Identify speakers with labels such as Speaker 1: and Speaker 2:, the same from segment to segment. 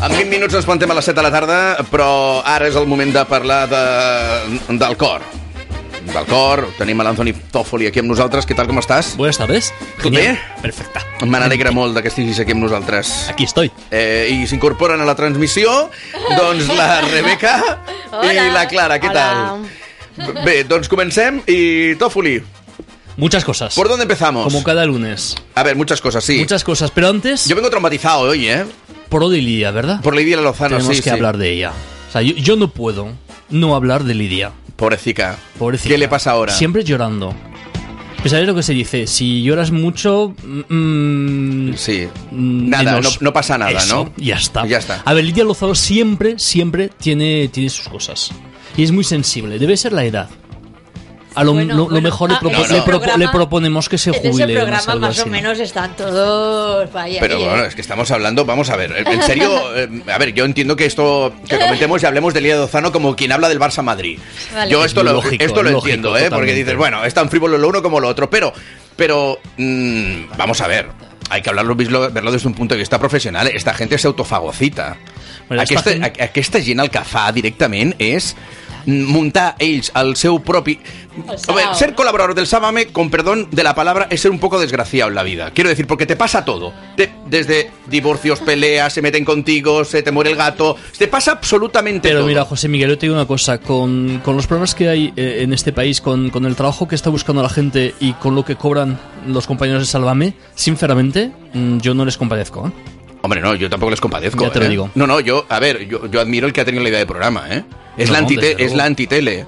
Speaker 1: 20 minuts ens plantem a les 7 de la tarda, però ara és el moment de parlar de, del cor. Del cor, tenim l'Anthony Toffoli aquí amb nosaltres. Què tal, com estàs?
Speaker 2: Buenas tardes.
Speaker 1: ¿Tú
Speaker 2: Genial.
Speaker 1: bien?
Speaker 2: Perfecta.
Speaker 1: Me n'alegra molt de que estiguis aquí amb nosaltres.
Speaker 2: Aquí estoy.
Speaker 1: Eh, I s'incorporen a la transmissió, doncs la Rebeca i
Speaker 3: Hola.
Speaker 1: la Clara. Què
Speaker 3: Hola.
Speaker 1: tal? Bé, doncs comencem. I Tòfoli,
Speaker 2: Muchas cosas.
Speaker 1: ¿por dónde empezamos?
Speaker 2: Como cada lunes.
Speaker 1: A ver, muchas cosas, sí.
Speaker 2: Muchas cosas. Pero antes,
Speaker 1: Yo vengo traumatizado hoy, ¿eh?
Speaker 2: por Odilia, ¿verdad?
Speaker 1: Por Lidia Lozano,
Speaker 2: Tenemos
Speaker 1: sí,
Speaker 2: que
Speaker 1: sí.
Speaker 2: hablar de ella. O sea, yo, yo no puedo no hablar de Lidia.
Speaker 1: Pobrecita.
Speaker 2: Pobrecita.
Speaker 1: ¿Qué le pasa ahora?
Speaker 2: Siempre llorando. Pues sabes lo que se dice, si lloras mucho... mm,
Speaker 1: Sí.
Speaker 2: mm,
Speaker 1: Nada, no,
Speaker 2: menos.
Speaker 1: no pasa nada,
Speaker 2: Eso,
Speaker 1: ¿no?
Speaker 2: Ya está.
Speaker 1: Ya está.
Speaker 2: A ver, Lidia Lozano siempre, siempre tiene, tiene sus cosas. Y es muy sensible. Debe ser la edad. A lo,
Speaker 3: Bueno,
Speaker 2: lo- lo
Speaker 3: bueno,
Speaker 2: mejor
Speaker 3: ah,
Speaker 2: le, propo-
Speaker 1: ese
Speaker 2: le, propo-
Speaker 3: programa-
Speaker 2: le proponemos que se
Speaker 3: En
Speaker 2: jubile.
Speaker 3: ese programa
Speaker 2: algo
Speaker 3: más o
Speaker 2: así.
Speaker 3: menos están todos vaya
Speaker 1: Pero bueno, es que estamos hablando, vamos a ver, en serio, eh, a ver, yo entiendo que esto que comentemos y hablemos de Lidia Lozano como quien habla del Barça Madrid.
Speaker 3: Vale.
Speaker 1: Yo esto lo,
Speaker 2: Lógico,
Speaker 1: esto lo
Speaker 2: lógico,
Speaker 1: entiendo, ¿eh?
Speaker 2: totalmente.
Speaker 1: porque dices, bueno, es tan frívolo lo uno como lo otro, pero pero mm, vamos a ver. Hay que hablarlo, vislo- verlo desde un punto de vista professional. Esta gente se autofagocita.
Speaker 2: Bueno, esta
Speaker 1: aquesta,
Speaker 2: gent-
Speaker 1: a- aquesta gent el que fa directament és mm, muntar ells el seu propi...
Speaker 3: El
Speaker 1: A ver,
Speaker 3: sao,
Speaker 1: ser
Speaker 3: ¿no?
Speaker 1: colaborador del Sábame, con perdón de la palabra, es ser un poco desgraciado en la vida. Quiero decir, porque te pasa todo. Te- desde divorcios, peleas, se meten contigo, se te muere el gato. Te pasa absolutamente
Speaker 2: Pero
Speaker 1: todo.
Speaker 2: mira, José Miguel, yo te digo una cosa. Con, con los problemas que hay eh, en este país, con, con el trabajo que está buscando la gente y con lo que cobran los compañeros de Salvame, sinceramente, mm, yo no les compadezco. ¿eh?
Speaker 1: Hombre, no, yo tampoco les compadezco.
Speaker 2: Ya te lo
Speaker 1: ¿eh?
Speaker 2: digo.
Speaker 1: No, no, yo, a ver, yo, yo admiro el que ha tenido la idea de programa, ¿eh? Es,
Speaker 2: No,
Speaker 1: la,
Speaker 2: no,
Speaker 1: antite-
Speaker 2: desde
Speaker 1: es la
Speaker 2: luego.
Speaker 1: antitele.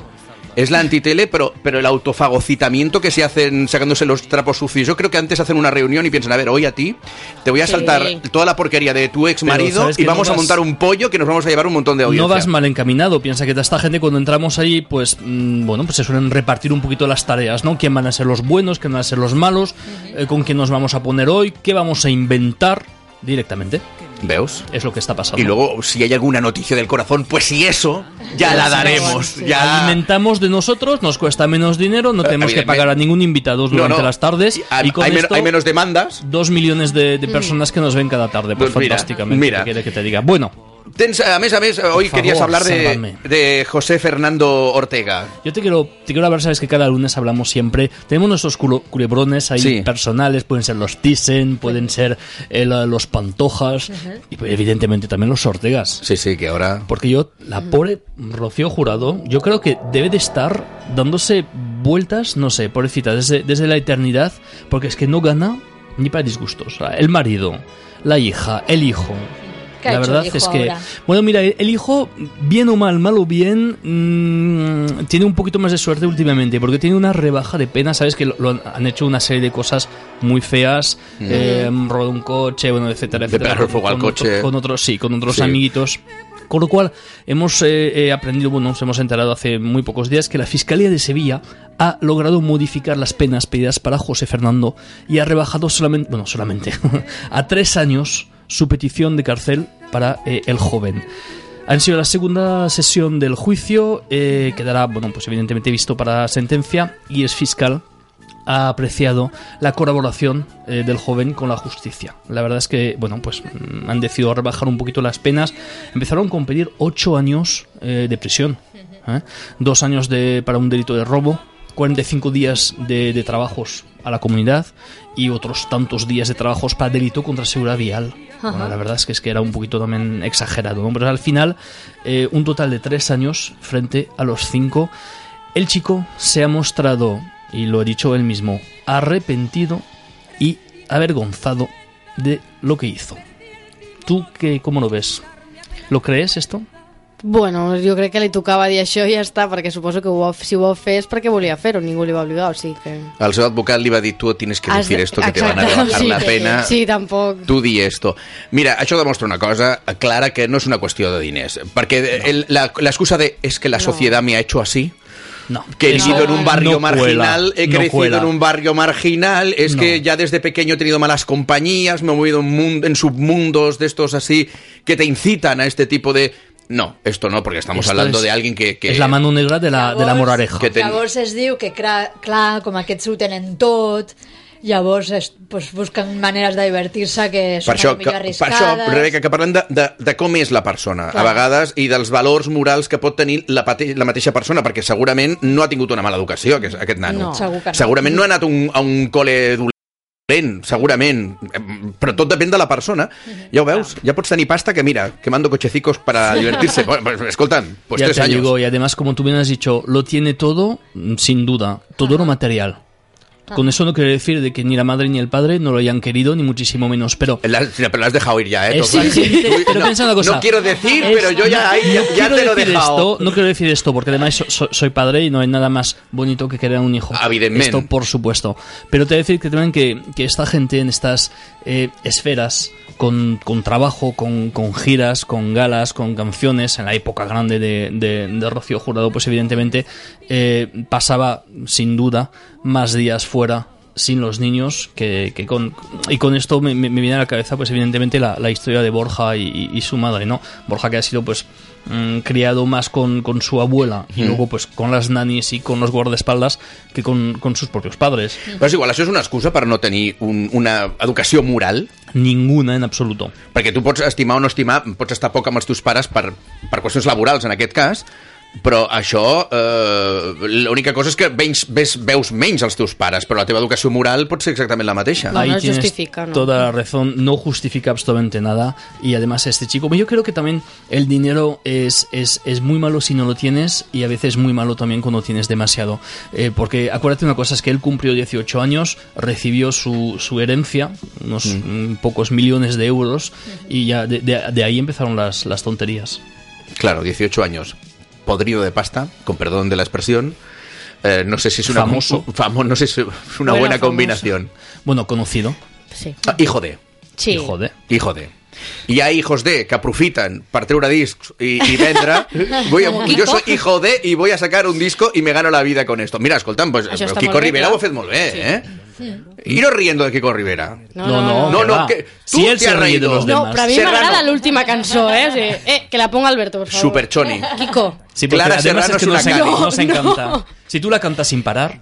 Speaker 1: Es la antitele, pero, pero el autofagocitamiento que se hacen sacándose los trapos sucios. Yo creo que antes hacen una reunión y piensan, a ver, hoy a ti te voy a
Speaker 3: Sí.
Speaker 1: saltar toda la porquería de tu ex
Speaker 2: Pero,
Speaker 1: marido
Speaker 2: ¿sabes
Speaker 1: y
Speaker 2: que no
Speaker 1: vamos a
Speaker 2: vas-
Speaker 1: montar un pollo que nos vamos a llevar un montón de audiencia.
Speaker 2: No vas mal encaminado. Piensa que esta gente cuando entramos ahí, pues mm, bueno, pues se suelen repartir un poquito las tareas, ¿no? ¿Quién van a ser los buenos? ¿Quién van a ser los malos? eh, ¿Con quién nos vamos a poner hoy? ¿Qué vamos a inventar directamente?
Speaker 1: ¿Veos?
Speaker 2: Es lo que está pasando.
Speaker 1: Y luego, si hay alguna noticia del corazón, pues si eso, ya la daremos.
Speaker 3: sí.
Speaker 1: Ya...
Speaker 2: Alimentamos de nosotros, nos cuesta menos dinero, no
Speaker 1: Eh,
Speaker 2: tenemos que
Speaker 1: evidentemente.
Speaker 2: pagar a ningún invitado
Speaker 1: No,
Speaker 2: durante
Speaker 1: no.
Speaker 2: las tardes.
Speaker 1: Y-
Speaker 2: Y,
Speaker 1: hay-
Speaker 2: con
Speaker 1: hay men-
Speaker 2: esto,
Speaker 1: hay menos demandas.
Speaker 2: dos millones de, de personas que nos ven cada tarde. Pues,
Speaker 1: Pues mira,
Speaker 2: fantásticamente.
Speaker 1: mira.
Speaker 2: ¿qué quiere que te diga? Bueno,
Speaker 1: Tens, a més a més, hoy
Speaker 2: favor,
Speaker 1: querías hablar de,
Speaker 2: sálvame.
Speaker 1: de José Fernando Ortega.
Speaker 2: Yo te quiero, te quiero hablar, sabes que cada lunes hablamos siempre. Tenemos nuestros culo- culebrones ahí
Speaker 1: Sí.
Speaker 2: personales, pueden ser los Thyssen, pueden ser eh, la- los Pantojas y pues, evidentemente también los Ortegas.
Speaker 1: Sí, sí, que ahora...
Speaker 2: Porque yo, la
Speaker 3: Mm.
Speaker 2: pobre Rocío Jurado, yo creo que debe de estar dándose vueltas, no sé, pobrecita, desde, desde la eternidad, porque es que no gana ni para disgustos. O sea, El marido, la hija, el hijo.
Speaker 3: ¿Qué ha
Speaker 2: La
Speaker 3: hecho
Speaker 2: verdad
Speaker 3: el hijo
Speaker 2: es que,
Speaker 3: ahora?
Speaker 2: bueno, mira, el hijo, bien o mal, mal o bien, mm, tiene un poquito más de suerte últimamente, porque tiene una rebaja de pena, sabes que lo, lo han, han hecho una serie de cosas muy feas, eh, robado un coche, bueno, etcétera,
Speaker 1: Mm. De
Speaker 2: etcétera.
Speaker 1: pegarle fuego al
Speaker 2: con otro-
Speaker 1: coche.
Speaker 2: con otros, sí, con otros
Speaker 1: Sí.
Speaker 2: amiguitos. Con lo cual, hemos eh, eh, aprendido, bueno, nos hemos enterado hace muy pocos días que la Fiscalía de Sevilla ha logrado modificar las penas pedidas para José Fernando y ha rebajado solamente, bueno, solamente, a tres años su petición de cárcel para eh, el joven. Han sido la segunda sesión del juicio, eh, quedará, bueno, pues evidentemente visto para sentencia y es fiscal ha apreciado la colaboración eh, del joven con la justicia. La verdad es que, bueno, pues mm, han decidido rebajar un poquito las penas. Empezaron con pedir ocho años eh, de prisión, ¿eh? dos años de, para un delito de robo, 45 días de, de trabajos a la comunidad y otros tantos días de trabajos para delito contra seguridad vial. Bueno,
Speaker 3: Ajá.
Speaker 2: la verdad es que, es que era un poquito también exagerado. ¿no? Pero al final, eh, un total de tres años frente a los cinco. El chico se ha mostrado, y lo ha dicho él mismo, arrepentido y avergonzado de lo que hizo. ¿Tú qué, cómo lo ves? ¿Lo crees esto?
Speaker 4: Bueno, jo crec que li tocava dir això i ja està, perquè suposo que ho, va- si ho va fer és perquè volia fer-ho, ningú li va obligar, o sigui que...
Speaker 1: Al seu advocat li va dir, tu tienes que
Speaker 4: Has
Speaker 1: decir
Speaker 4: de-
Speaker 1: esto, que te van a
Speaker 4: Exacte,
Speaker 1: rebajar
Speaker 4: sí,
Speaker 1: la pena.
Speaker 4: Sí, tampoc.
Speaker 1: Tu di esto. Mira, això demostra una cosa clara que no és una qüestió de diners. Perquè el- la- l'excusa de es que la
Speaker 4: No.
Speaker 1: sociedad me ha hecho así,
Speaker 2: No.
Speaker 1: que he
Speaker 2: Eso
Speaker 1: vivido en un barrio
Speaker 2: no cuela,
Speaker 1: marginal, he
Speaker 2: no
Speaker 1: crecido
Speaker 2: cuela.
Speaker 1: en un barrio marginal, es
Speaker 2: No.
Speaker 1: que ya desde pequeño he tenido malas compañías, me he movido en, mun- en submundos de estos así que te incitan a este tipo de... No, esto no, porque estamos
Speaker 2: Esto
Speaker 1: hablando
Speaker 2: es-
Speaker 1: de alguien que... que
Speaker 2: És la mano
Speaker 4: Ah,
Speaker 2: negra de la, de la morareja.
Speaker 1: Que
Speaker 3: Que
Speaker 1: ten-
Speaker 3: Llavors es diu que, cra, clar, com aquests ho tenen tot, Llavors es, pues, busquen maneres de divertir-se que
Speaker 1: Per
Speaker 3: són
Speaker 1: això,
Speaker 3: una
Speaker 1: que,
Speaker 3: mica
Speaker 1: per
Speaker 3: arriscades.
Speaker 1: això, Rebeca, que parlem de, de, de com és la persona,
Speaker 3: Clar.
Speaker 1: a vegades, i dels valors morals que pot tenir la, pate, la mateixa persona, perquè segurament no ha tingut una mala educació, aquest, aquest nano.
Speaker 4: No.
Speaker 3: Segur que no.
Speaker 1: Segurament no ha anat un, a un col·le dolent, segurament, Em, però tot depèn de la persona.
Speaker 3: Mhm.
Speaker 1: Ja ho veus, ja pots tenir pasta que, mira, quemando cochecicos para divertirse. Bueno, pues, escoltan, pues
Speaker 2: ya
Speaker 1: tres
Speaker 2: te
Speaker 1: años.
Speaker 2: digo, y además, como tú bien has dicho, lo tiene todo, mm, sin duda, todo lo material. Con eso no quiero decir de que ni la madre ni el padre no lo hayan querido, ni muchísimo menos, pero...
Speaker 1: La- pero la has dejado ir ya, ¿eh?
Speaker 2: Eh,
Speaker 1: Todo
Speaker 2: sí,
Speaker 1: claro.
Speaker 2: sí, sí,
Speaker 1: Uy,
Speaker 2: pero
Speaker 1: no,
Speaker 2: piensa una cosa.
Speaker 1: no quiero decir, pero yo ya, ahí, ya,
Speaker 2: No
Speaker 1: ya
Speaker 2: quiero
Speaker 1: te lo he
Speaker 2: decir
Speaker 1: dejado.
Speaker 2: Esto, no quiero decir esto, porque además so- so- soy padre y no hay nada más bonito que querer a un hijo.
Speaker 1: Evidentemente.
Speaker 2: Esto por supuesto. Pero te voy a decir que también que, que esta gente en estas eh, esferas, con, con trabajo, con, con giras, con galas, con canciones, en la época grande de, de, de Rocío Jurado, pues evidentemente eh, pasaba sin duda más días fuera sin los niños que, que con y con esto me, me- me viene a la cabeza pues evidentemente la, la historia de Borja y, y- y su madre no Borja que ha sido pues mm, criado más con, con su abuela y luego pues con las nanis y con los guardaespaldas que con, con sus propios padres
Speaker 1: Però és igual, això és una excusa per no tenir un, una educació moral,
Speaker 2: ninguna en absoluto
Speaker 1: perquè tu pots estimar o no estimar, pots estar poc amb els teus pares per, per qüestions laborals, en aquest cas, però això, eh, l'única cosa és que veus, ves, veus menys els teus pares, però la teva educació moral pot ser exactament la mateixa.
Speaker 4: No,
Speaker 2: Ahí
Speaker 4: no
Speaker 2: tienes
Speaker 4: justifica, ¿no?
Speaker 2: toda la razón, no justifica absolutamente nada. Y además este chico, yo creo que también el dinero es, es, es muy malo si no lo tienes y a veces muy malo también cuando tienes demasiado. Eh, porque acuérdate una cosa, es que él cumplió 18 años, recibió su, su herencia, unos mm, pocos millones de euros, y ya de, de- de ahí empezaron las, las tonterías.
Speaker 1: Claro, 18 años, podrido de pasta, con perdón de la expresión, eh, no sé si es una,
Speaker 2: Famoso.
Speaker 1: famo- no sé si es una
Speaker 4: Bueno,
Speaker 1: buena
Speaker 4: famoso.
Speaker 1: combinación.
Speaker 2: Bueno, conocido,
Speaker 4: Sí.
Speaker 1: Ah, hijo de...
Speaker 4: Sí.
Speaker 2: hijo de...
Speaker 1: Hijo de. Hi ha hijos de que aprofiten per treure discs i, i vendre. Voy a, jo soy hijo de i voy a sacar un disco y me gano la vida con esto. Mira, escolta'm, pues,
Speaker 4: Això està
Speaker 1: Kiko
Speaker 4: molt bé,
Speaker 1: Rivera
Speaker 4: clar.
Speaker 1: ho ha fet molt bé, eh? Iros riendo de Kiko Rivera.
Speaker 4: No, no, no.
Speaker 1: No,
Speaker 2: que
Speaker 1: no,
Speaker 2: va.
Speaker 1: que-
Speaker 2: si
Speaker 1: tú
Speaker 2: él
Speaker 1: te
Speaker 2: se
Speaker 1: has
Speaker 2: ríe de
Speaker 1: reído.
Speaker 2: los
Speaker 4: No,
Speaker 2: demás.
Speaker 4: però a mi
Speaker 1: Serrano.
Speaker 4: m'agrada l'última cançó, eh? O sigui, eh? Que la ponga Alberto, por favor.
Speaker 1: Superchoni.
Speaker 4: Kiko.
Speaker 2: Sí, porque
Speaker 1: Clara
Speaker 2: además
Speaker 1: Serrano
Speaker 2: es que
Speaker 1: es una
Speaker 2: nos, en-
Speaker 1: cani.
Speaker 2: nos
Speaker 4: No,
Speaker 2: encanta.
Speaker 4: no.
Speaker 2: Si tú la cantas sin parar,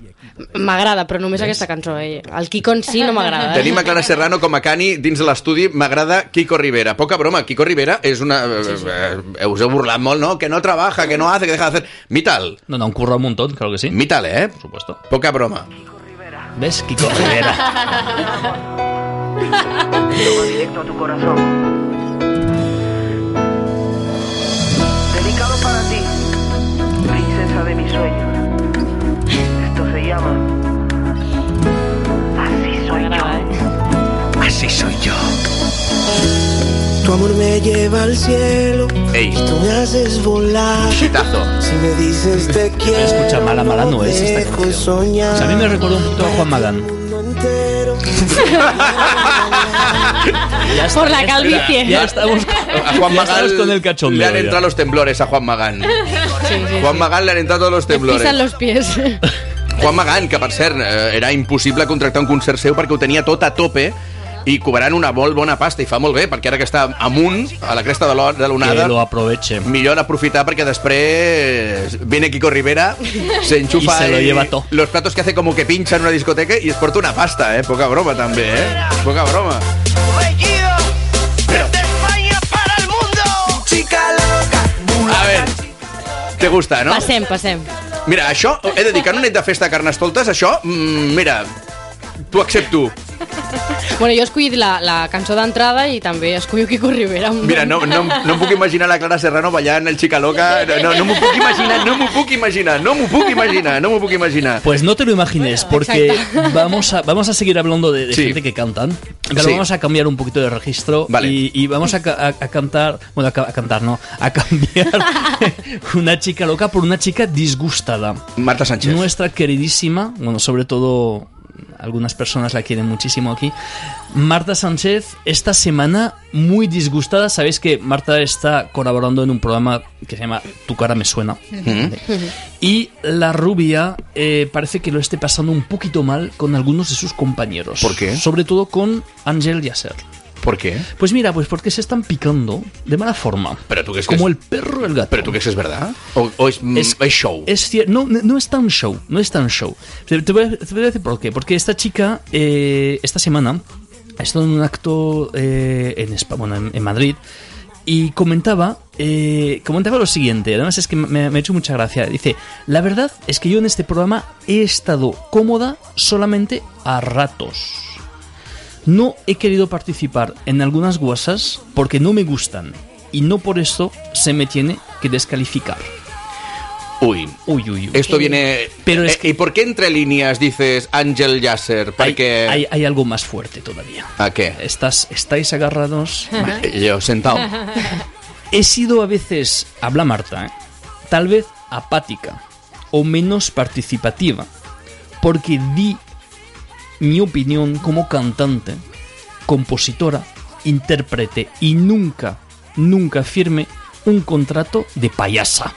Speaker 4: M'agrada, però només aquesta cançó, eh? El Kiko en si no m'agrada. Eh?
Speaker 1: Tenim a Clara Serrano com a cani dins de l'estudi. M'agrada Kiko Rivera. Poca broma, Kiko Rivera és una... eh, us heu burlat molt, no? Que no trabaja, que no hace, que deja de hacer... Mital.
Speaker 2: no, no, han currado un montón, claro que sí.
Speaker 1: Mital, eh?
Speaker 2: Por supuesto.
Speaker 1: Poca broma.
Speaker 2: ¿Ves? Kiko Rivera.
Speaker 5: Toma directo a tu corazón. Dedicado para ti, princesa de mis sueños. Esto se llama. Así soy yo. Así soy yo.
Speaker 6: Tu amor me lleva al cielo,
Speaker 1: Ei,
Speaker 6: tú me haces volar.
Speaker 1: xitazo.
Speaker 6: Si me dices te quiero,
Speaker 2: escucha mala, mala no es esta
Speaker 6: dejo
Speaker 2: canción.
Speaker 6: soñar.
Speaker 2: O sea, a mí me recuerda un poquito a Juan Magán.
Speaker 6: El mundo entero.
Speaker 2: Ya está,
Speaker 4: Por la
Speaker 2: ya está.
Speaker 4: calvicie.
Speaker 2: Ya estamos,
Speaker 1: A Juan
Speaker 2: ya estamos
Speaker 1: Magán
Speaker 2: con el
Speaker 1: le
Speaker 2: cachondeo.
Speaker 1: han entrado
Speaker 2: ya.
Speaker 1: los temblores a Juan Magán.
Speaker 4: Sí, sí.
Speaker 1: Juan Magán le han entrat tots els
Speaker 4: Et pisan
Speaker 1: temblores.
Speaker 4: los pies.
Speaker 1: Juan Magán, que per cert eh, era impossible contractar un concert seu perquè ho tenia tot a tope i cobrant una molt bona pasta i fa molt bé perquè ara que està amunt, a la cresta de l'o- de
Speaker 2: Que
Speaker 1: l'onada
Speaker 2: lo aproveche.
Speaker 1: millor aprofitar perquè després viene Kiko Rivera, s'enxufa
Speaker 2: I se lo
Speaker 1: ahí
Speaker 2: lleva to.
Speaker 1: los platos que hace como que pincha en una discoteca i es porta una pasta, eh? Poca broma també, eh? Poca broma.
Speaker 5: Regido desde España para el mundo.
Speaker 6: Chica loca,
Speaker 1: A ver, te gusta, no?
Speaker 4: Passem, passem.
Speaker 1: Mira, això, he de dir que en una nit de festa a Carnestoltes, això, mm, mira, t'ho accepto.
Speaker 4: Bueno, jo he escollit la, la cançó d'entrada i també escollo Kiko Rivera.
Speaker 1: Mira, no, no, em- no em puc imaginar la Clara Serrano ballant el Chicaloca, no, no m'ho puc imaginar, no m'ho puc imaginar, no m'ho puc imaginar, no m'ho puc imaginar.
Speaker 2: Pues no te lo imagines, porque vamos a, vamos a seguir hablando de, de
Speaker 1: Sí.
Speaker 2: gente que cantan, pero
Speaker 1: Sí.
Speaker 2: vamos a cambiar un poquito de registro
Speaker 1: Vale.
Speaker 2: y, y vamos a, ca- a- a cantar, bueno, a, ca- a cantar, no, a cambiar una chica loca por una chica disgustada.
Speaker 1: Marta Sánchez.
Speaker 2: Nuestra queridísima, bueno, sobre todo algunas personas la quieren muchísimo aquí, Marta Sánchez, esta semana muy disgustada. Sabéis que Marta está colaborando en un programa que se llama Tu cara me suena. Vale. Y la rubia eh, parece que lo esté pasando un poquito mal con algunos de sus compañeros.
Speaker 1: ¿Por qué?
Speaker 2: Sobre todo con Ángel Yasser.
Speaker 1: ¿Por qué?
Speaker 2: Pues mira, pues porque se están picando de mala forma.
Speaker 1: Pero tú crees que
Speaker 2: Como
Speaker 1: es-
Speaker 2: el perro y el gato.
Speaker 1: ¿Pero tú crees que es verdad? ¿O, o es, mm,
Speaker 2: Es-
Speaker 1: es show?
Speaker 2: Es cier- no, no no es tan show, no es tan show. Te, te voy, a, te voy a decir por qué. Porque esta chica, eh, esta semana, ha estado en un acto eh, en, Espa- bueno, en, en Madrid y comentaba, eh, comentaba lo siguiente. Además es que me, me ha hecho mucha gracia. Dice, la verdad es que yo en este programa he estado cómoda solamente a ratos. No he querido participar en algunas guasas porque no me gustan y no por esto se me tiene que descalificar.
Speaker 1: Uy,
Speaker 2: Uy, uy, uy.
Speaker 1: esto viene...
Speaker 2: Pero es
Speaker 1: Eh,
Speaker 2: que-
Speaker 1: ¿Y por qué entre líneas dices Ángel Yasser?
Speaker 2: Hay-
Speaker 1: Porque...
Speaker 2: hay, hay algo más fuerte todavía.
Speaker 1: ¿A qué?
Speaker 2: Estás, estáis agarrados.
Speaker 1: Yo sentado.
Speaker 2: He sido a veces, habla Marta, ¿eh? tal vez apática o menos participativa, porque di mi opinión como cantante, compositora, intérprete y nunca, nunca firme un contrato de payasa.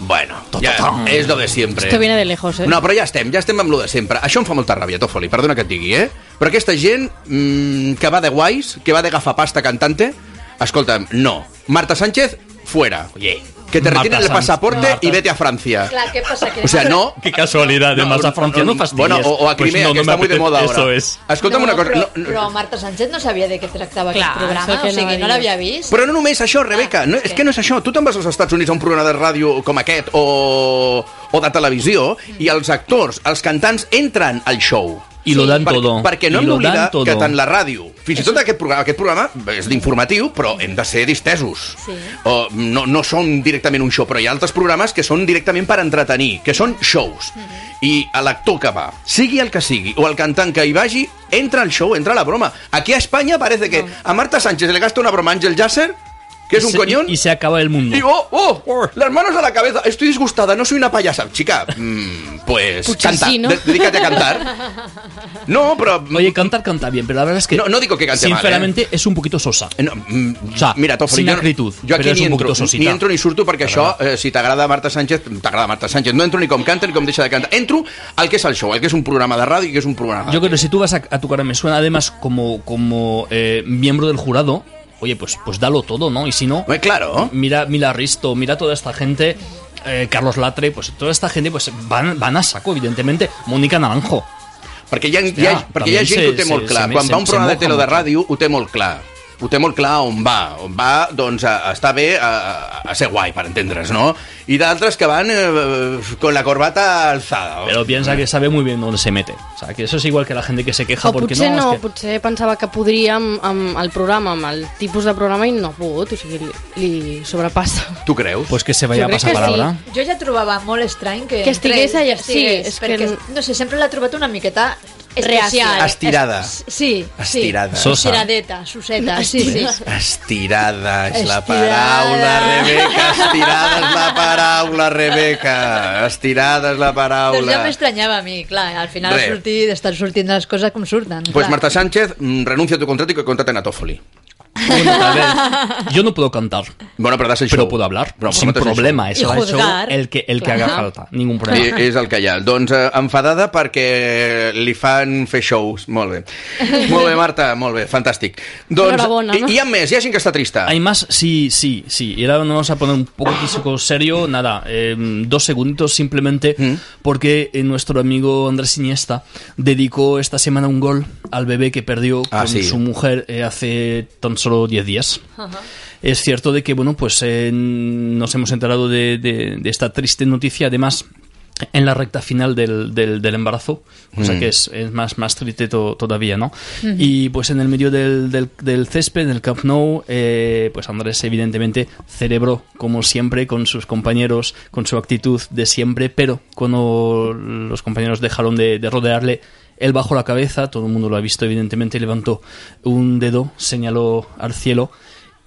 Speaker 1: Bueno, ja, és lo de sempre.
Speaker 4: Esto viene de lejos, ¿eh?
Speaker 1: No, però ja estem, ja estem amb lo de sempre. Això em fa molta ràbia, Tofoli, perdona que et digui, eh? Però aquesta gent mm, que va de guais, que va de gafapasta cantante, escolta'm, no. Marta Sánchez, fuera. Oye. Que te
Speaker 2: Marta
Speaker 1: retiren el
Speaker 2: Sánchez,
Speaker 1: pasaporte
Speaker 2: Marta.
Speaker 1: y vete a Francia.
Speaker 3: Claro, ¿qué pasa? Que
Speaker 1: O sea, no...
Speaker 7: Qué casualidad, además,
Speaker 1: no,
Speaker 7: a Francia no fastidies.
Speaker 1: Bueno, o, o a
Speaker 7: Pues
Speaker 1: Crimea,
Speaker 7: no, no
Speaker 1: que
Speaker 7: me
Speaker 1: está muy de
Speaker 7: apetece-
Speaker 1: moda ahora.
Speaker 7: Eso es.
Speaker 1: Escolta'm
Speaker 3: No,
Speaker 1: una cosa...
Speaker 3: Però,
Speaker 1: no, no,
Speaker 3: però Marta Sánchez no sabia de què tractava
Speaker 4: Clar,
Speaker 3: aquest programa,
Speaker 4: això que
Speaker 3: o sigui,
Speaker 4: anava
Speaker 3: no
Speaker 4: a dir.
Speaker 3: l'havia vist.
Speaker 1: Però no només això, Rebeca.
Speaker 3: Ah,
Speaker 1: no,
Speaker 3: és
Speaker 1: és
Speaker 3: que-
Speaker 1: que no és això. Tu te'n vas als Estats Units a un programa de ràdio com aquest o, o de televisió i els actors, els cantants, entren al show.
Speaker 2: I lo dan
Speaker 1: Per-
Speaker 2: todo.
Speaker 1: Perquè no
Speaker 2: I
Speaker 1: hem
Speaker 2: lo
Speaker 1: d'oblidar
Speaker 2: dan todo.
Speaker 1: que tant la ràdio, fins i tot aquest programa, aquest programa és d'informatiu, però hem de ser distesos.
Speaker 3: Sí.
Speaker 1: O, no, no són directament un show, però hi ha altres programes que són directament per entretenir, que són shows. I a l'actor que va, sigui el que sigui, o el cantant que hi vagi, entra al show, entra a la broma. Aquí a Espanya parece que a Marta Sánchez le gasta una broma a Ángel Yasser, que es
Speaker 2: Y
Speaker 1: un
Speaker 2: se-
Speaker 1: coñón,
Speaker 2: Y, y se acaba el mundo.
Speaker 1: y oh, oh, las manos a la cabeza, estoy disgustada, no soy una payasa. Chica, mm, pues
Speaker 4: Pucha,
Speaker 1: canta,
Speaker 4: sí, ¿no?
Speaker 1: de- dedícate a cantar. No, pero...
Speaker 2: Oye, cantar canta bien, pero la verdad es que.
Speaker 1: No, no digo que cante mal, ¿eh?
Speaker 2: Sinceramente, es un poquito sosa.
Speaker 1: No, mm,
Speaker 2: O sea,
Speaker 1: mira, Tofoli,
Speaker 2: sin
Speaker 1: jo,
Speaker 2: acritud,
Speaker 1: jo aquí
Speaker 2: però és
Speaker 1: ni
Speaker 2: un
Speaker 1: entro,
Speaker 2: poquito sosita.
Speaker 1: ni entro ni surto perquè això, eh, si t'agrada Marta Sánchez, t'agrada Marta Sánchez. No entro ni com canta ni com deixa de cantar. Entro al que és el show, al que és un programa de ràdio i que és un programa...
Speaker 2: Yo creo que si tú vas a, a tu cara me suena, además, como, como eh, miembro del jurado, oye, pues, pues dalo todo, ¿no? Y si no,
Speaker 1: Home, Eh, claro.
Speaker 2: mira, mira Risto, mira toda esta gente, eh, Carlos Latre, pues toda esta gente, pues van, van a saco, evidentemente. Mónica Naranjo.
Speaker 1: Perquè hi ha, hi ha,
Speaker 2: Hòstia,
Speaker 1: perquè hi ha
Speaker 2: també
Speaker 1: gent que ho té
Speaker 2: se-
Speaker 1: molt
Speaker 2: se-
Speaker 1: clar.
Speaker 2: se-
Speaker 1: Quan
Speaker 2: se-
Speaker 1: va a un
Speaker 2: se
Speaker 1: programa de
Speaker 2: moja
Speaker 1: tele o de
Speaker 2: molt.
Speaker 1: ràdio, ho té molt clar. Ho té molt clar on va. On va, doncs, a, a estar bé, a, a- a ser guai, per entendre's, no? I d'altres que van eh, con la corbata alzada.
Speaker 2: Pero piensa que sabe muy bien dónde se mete. O sea, que eso es igual que la gente que se queja
Speaker 4: O
Speaker 2: porque
Speaker 4: potser
Speaker 2: no.
Speaker 4: no,
Speaker 2: es que-
Speaker 4: potser pensava que podria amb, amb el programa, amb el tipus de programa i no ha pogut, o sigui, li, li sobrepassa.
Speaker 1: Tu creus?
Speaker 2: Pues que se vaya a
Speaker 4: Yo creo
Speaker 2: pasar
Speaker 4: que sí.
Speaker 2: palabra.
Speaker 3: Jo ja trobava molt estrany que...
Speaker 4: Que estigués
Speaker 3: entrés,
Speaker 4: allà, sí,
Speaker 3: estigués,
Speaker 4: és que
Speaker 3: perquè,
Speaker 4: no-
Speaker 3: no sé, sempre l'ha trobat una miqueta especial.
Speaker 1: Estirada.
Speaker 3: Es, sí,
Speaker 1: Estirada.
Speaker 3: sí.
Speaker 2: Sosa.
Speaker 3: Estiradeta, suseta, sí, sí.
Speaker 1: Estirada és la
Speaker 3: Estirada.
Speaker 1: paraula, Rebeca. Estirada és la paraula, Rebeca. Estirada és la
Speaker 3: Doncs ja
Speaker 1: paraula.
Speaker 3: m'estranyava a mi, clar, al final
Speaker 1: Res.
Speaker 3: sortir, estan sortint les coses com surten.
Speaker 1: Pues
Speaker 3: clar.
Speaker 1: Marta Sánchez, mm, renuncia a tu contrato y que contraten a Toffoli.
Speaker 2: Bueno, a ver, yo no puedo cantar,
Speaker 1: Bueno, però das el show.
Speaker 2: pero puedo hablar.
Speaker 1: Però
Speaker 2: sin
Speaker 1: prometes el show.
Speaker 2: problema. eh, Eso
Speaker 3: Y
Speaker 2: va al show,
Speaker 3: juzgar.
Speaker 2: el que, el que haga
Speaker 3: Claro.
Speaker 2: falta. Ningún
Speaker 1: I
Speaker 2: problema.
Speaker 1: és el que hi ha. Doncs eh, enfadada perquè li fan fer shows. Molt bé. Molt bé, Marta, molt bé, fantàstic. Doncs,
Speaker 4: Enhorabona,
Speaker 1: i,
Speaker 4: no?
Speaker 1: hi ha més, hi ha gent que està trista.
Speaker 2: Hay más, sí, sí, sí. Y ahora nos vamos a poner un poquitico serio. Nada, eh, dos segunditos simplemente,
Speaker 1: Mm.
Speaker 2: porque eh, nuestro amigo Andrés Iniesta dedicó esta semana un gol al bebé que perdió
Speaker 1: Ah,
Speaker 2: con
Speaker 1: sí.
Speaker 2: su mujer eh, hace tan solo 10 días. Es cierto de que, bueno, pues eh, nos hemos enterado de, de- de esta triste noticia. Además, en la recta final del, del- del embarazo, o
Speaker 1: Mm.
Speaker 2: sea que es, es más, más triste to- todavía, ¿no? Y pues en el medio del, del, del césped, en el Camp Nou, eh, pues Andrés evidentemente celebró, como siempre, con sus compañeros, con su actitud de siempre, pero cuando los compañeros dejaron de, de rodearle, él bajó la cabeza, todo el mundo lo ha visto evidentemente, levantó un dedo, señaló al cielo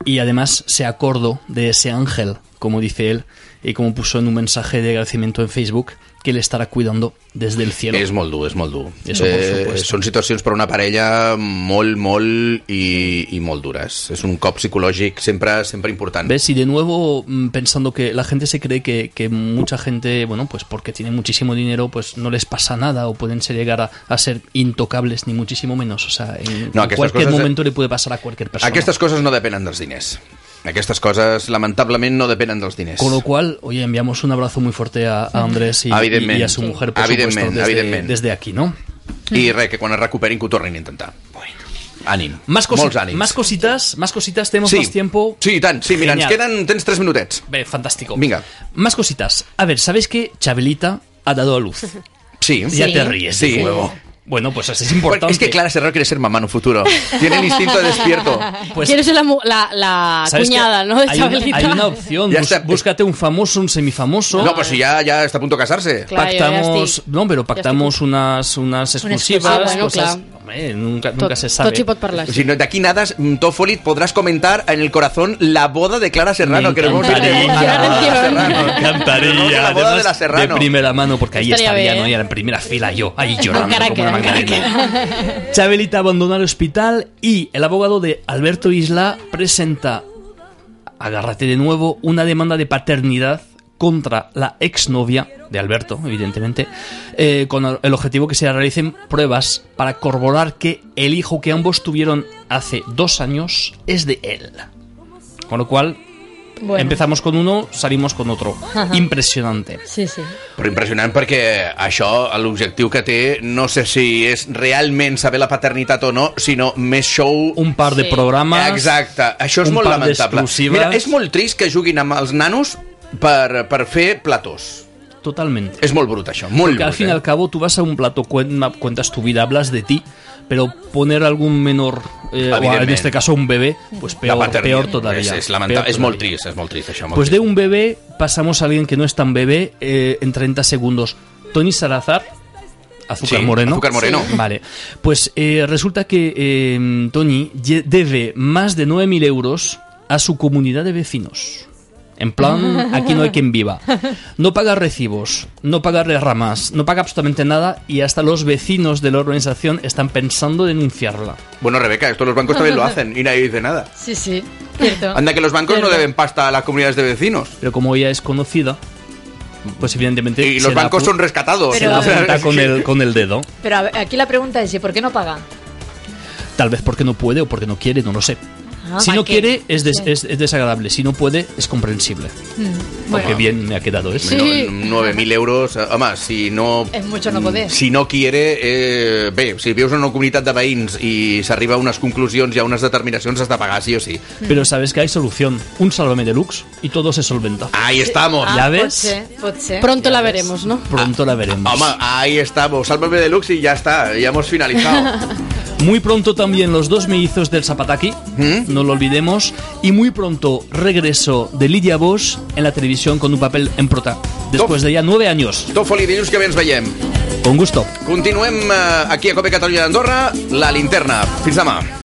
Speaker 2: y además se acordó de ese ángel, como dice él, y como puso en un mensaje de agradecimiento en Facebook, que le estará cuidando desde el cielo.
Speaker 1: És molt dur, és molt dur.
Speaker 2: Eso, por supuesto.
Speaker 1: són situacions per a una parella molt, molt i, i molt dures. És un cop psicològic sempre sempre important.
Speaker 2: ¿Ves? Y de nuevo mm, pensando que la gente se cree que, que mucha gente, bueno, pues porque tiene muchísimo dinero, pues no les pasa nada o pueden ser- llegar a, a ser intocables, ni muchísimo menos. O sea, en,
Speaker 1: No,
Speaker 2: en
Speaker 1: aquestes
Speaker 2: cualquier
Speaker 1: cosas-
Speaker 2: momento le puede pasar a cualquier persona.
Speaker 1: Aquestes coses no depenen dels diners. Aquestes coses, lamentablement, no depenen dels diners.
Speaker 2: Con lo cual, oye, enviamos un abrazo muy fuerte a, a Andrés y,
Speaker 1: Evidentment.
Speaker 2: y a su mujer, por
Speaker 1: Evidentment,
Speaker 2: supuesto, desde,
Speaker 1: evidentment.
Speaker 2: desde aquí, ¿no?
Speaker 1: I res, que quan es recuperin que ho tornin a intentar. Ànim.
Speaker 2: Más, cosi-
Speaker 1: Molts ànims.
Speaker 2: más cositas, más cositas, tenemos más tiempo.
Speaker 1: Sí, i tant. Sí, mira, ens
Speaker 2: Genial.
Speaker 1: queden... Tens tres minutets.
Speaker 2: Ve, fantástico.
Speaker 1: Venga.
Speaker 2: Más cositas. A ver, ¿sabéis que Chabelita ha dado a luz?
Speaker 1: Sí.
Speaker 2: Ya te ríes de
Speaker 1: Sí.
Speaker 2: nuevo. Bueno, pues así es
Speaker 1: Bueno,
Speaker 2: importante.
Speaker 1: es que Clara Serrano quiere ser mamá en un futuro. Tiene el instinto de despierto.
Speaker 2: Pues-
Speaker 4: Quieres ser la, mu- la, la
Speaker 2: ¿sabes qué?
Speaker 4: cuñada, ¿no? De
Speaker 2: hay, una,
Speaker 4: Chabelita.
Speaker 2: hay una opción.
Speaker 1: Ya
Speaker 2: bus-
Speaker 1: está.
Speaker 2: Búscate un famoso, un semifamoso.
Speaker 1: No, pues si ya, ya está a punto de casarse.
Speaker 4: Claro, yo ya
Speaker 2: pactamos,
Speaker 4: estic-
Speaker 2: no, pero
Speaker 4: ja estic-
Speaker 2: pactamos unas, unas exclusivas.
Speaker 4: Ah, bueno,
Speaker 2: cosas-
Speaker 4: clar.
Speaker 2: Hombre, nunca,
Speaker 4: Tot-
Speaker 2: nunca se sabe.
Speaker 4: tot hi pot parlar, sí.
Speaker 1: Si no, de aquí nada, mm, Toffoli, podrás comentar en el corazón la boda de Clara Serrano.
Speaker 2: Me
Speaker 1: Que le vamos a decir,
Speaker 2: encantaría.
Speaker 1: "Ah, la boda de la
Speaker 2: Me
Speaker 1: Serrano". Pero no,
Speaker 2: encantaría.
Speaker 1: la boda
Speaker 2: además,
Speaker 1: de la Serrano.
Speaker 2: primera mano, porque ahí
Speaker 4: Estaría
Speaker 2: estaba ella,
Speaker 4: bien.
Speaker 2: ¿no? Y era en primera fila yo, ahí llorando
Speaker 4: Mancaraque,
Speaker 2: como una macarena. Chabelita abandona el hospital y el abogado de Alberto Isla presenta, agárrate de nuevo, una demanda de paternidad contra la exnovia de Alberto, evidentemente, eh, con el objetivo que se realicen pruebas para corroborar que el hijo que ambos tuvieron hace dos años es de él. Con lo cual,
Speaker 3: Bueno,
Speaker 2: Empezamos con uno, salimos con otro. Impresionante.
Speaker 3: Sí, sí.
Speaker 1: Però impressionant perquè això, l'objectiu que té, no sé si és realment saber la paternitat o no, sinó més show...
Speaker 2: Un par de
Speaker 4: Sí.
Speaker 2: programas.
Speaker 1: Exacte, això és
Speaker 2: un
Speaker 1: molt
Speaker 2: par
Speaker 1: lamentable.
Speaker 2: d'exclusives.
Speaker 1: Mira, és molt trist que juguin amb els nanos per, per fer platós.
Speaker 2: Totalmente.
Speaker 1: És molt brut, això, molt
Speaker 2: Porque
Speaker 1: brut.
Speaker 2: al
Speaker 1: eh?
Speaker 2: fin y al cabo tú vas a un plato, cuen- cuentas tu vida, hablas de ti, pero poner algún menor, eh, o en
Speaker 1: Evidentemente.
Speaker 2: este caso un bebé, pues
Speaker 1: La
Speaker 2: peor,
Speaker 1: paternitat.
Speaker 2: peor todavía.
Speaker 1: És, és,
Speaker 2: peor
Speaker 1: lamentable, és molt
Speaker 2: todavía.
Speaker 1: trist, és molt trist, això. Molt
Speaker 2: Pues de
Speaker 1: trist.
Speaker 2: un bebé pasamos a alguien que no es tan bebé eh, en 30 segundos. Tony Salazar. Azúcar
Speaker 1: Sí,
Speaker 2: Moreno.
Speaker 1: Azúcar Moreno. Sí.
Speaker 2: Vale. Pues eh, resulta que eh, Tony ye- debe más de 9.000 euros a su comunidad de vecinos. En plan, aquí no hay quien viva. No paga recibos, no paga ramas, no paga absolutamente nada y hasta los vecinos de la organización están pensando denunciarla.
Speaker 1: Bueno, Rebeca, esto los bancos también lo hacen y nadie dice nada.
Speaker 3: Sí, sí. Cierto.
Speaker 1: Anda que los bancos no
Speaker 3: Cierto.
Speaker 1: deben pasta a las comunidades de vecinos.
Speaker 2: Pero como ella es conocida, pues evidentemente...
Speaker 1: Y
Speaker 2: se
Speaker 1: los
Speaker 2: la
Speaker 1: bancos
Speaker 2: apu-
Speaker 1: son rescatados.
Speaker 2: se la
Speaker 1: O sea,
Speaker 2: apunta
Speaker 1: es
Speaker 2: con
Speaker 1: que-
Speaker 2: el, con el dedo.
Speaker 3: Pero a ver, aquí la pregunta es, ¿y por qué no paga?
Speaker 2: Tal vez porque no puede o porque no quiere, no lo sé.
Speaker 3: Ah,
Speaker 2: si no
Speaker 3: ¿qué?
Speaker 2: quiere, es, des- es- es desagradable. Si no puede, es comprensible.
Speaker 3: Bueno.
Speaker 2: Qué bien me ha quedado eso.
Speaker 4: Sí.
Speaker 1: No, 9.000 euros, además, si no...
Speaker 3: Es mucho no poder.
Speaker 1: Si no quiere, eh, bé, si vius en una comunitat de veïns i s'arriba a unes conclusions i a unes determinacions, has de pagar sí o sí.
Speaker 2: Pero sabes que hay solución. Un sálvame deluxe y todo se solventa.
Speaker 1: Ahí estamos.
Speaker 2: Ya
Speaker 3: ah, pot
Speaker 2: ves.
Speaker 3: ser, pot ser.
Speaker 4: Pronto la veremos, ¿no?
Speaker 2: Pronto la veremos.
Speaker 1: Home, ahí estamos. Sálvame deluxe y ya está. Ya hemos finalizado.
Speaker 2: Muy pronto también los dos mellizos del Zapataki, no lo olvidemos. Y muy pronto regreso de Lidia Bosch en la televisión con un papel en prota. Después de ya nueve años.
Speaker 1: Tòfoli, dilluns que ve ens veiem.
Speaker 2: Con gusto.
Speaker 1: Continuem eh, aquí a Cope Catalunya d'Andorra, la linterna. Fins demà.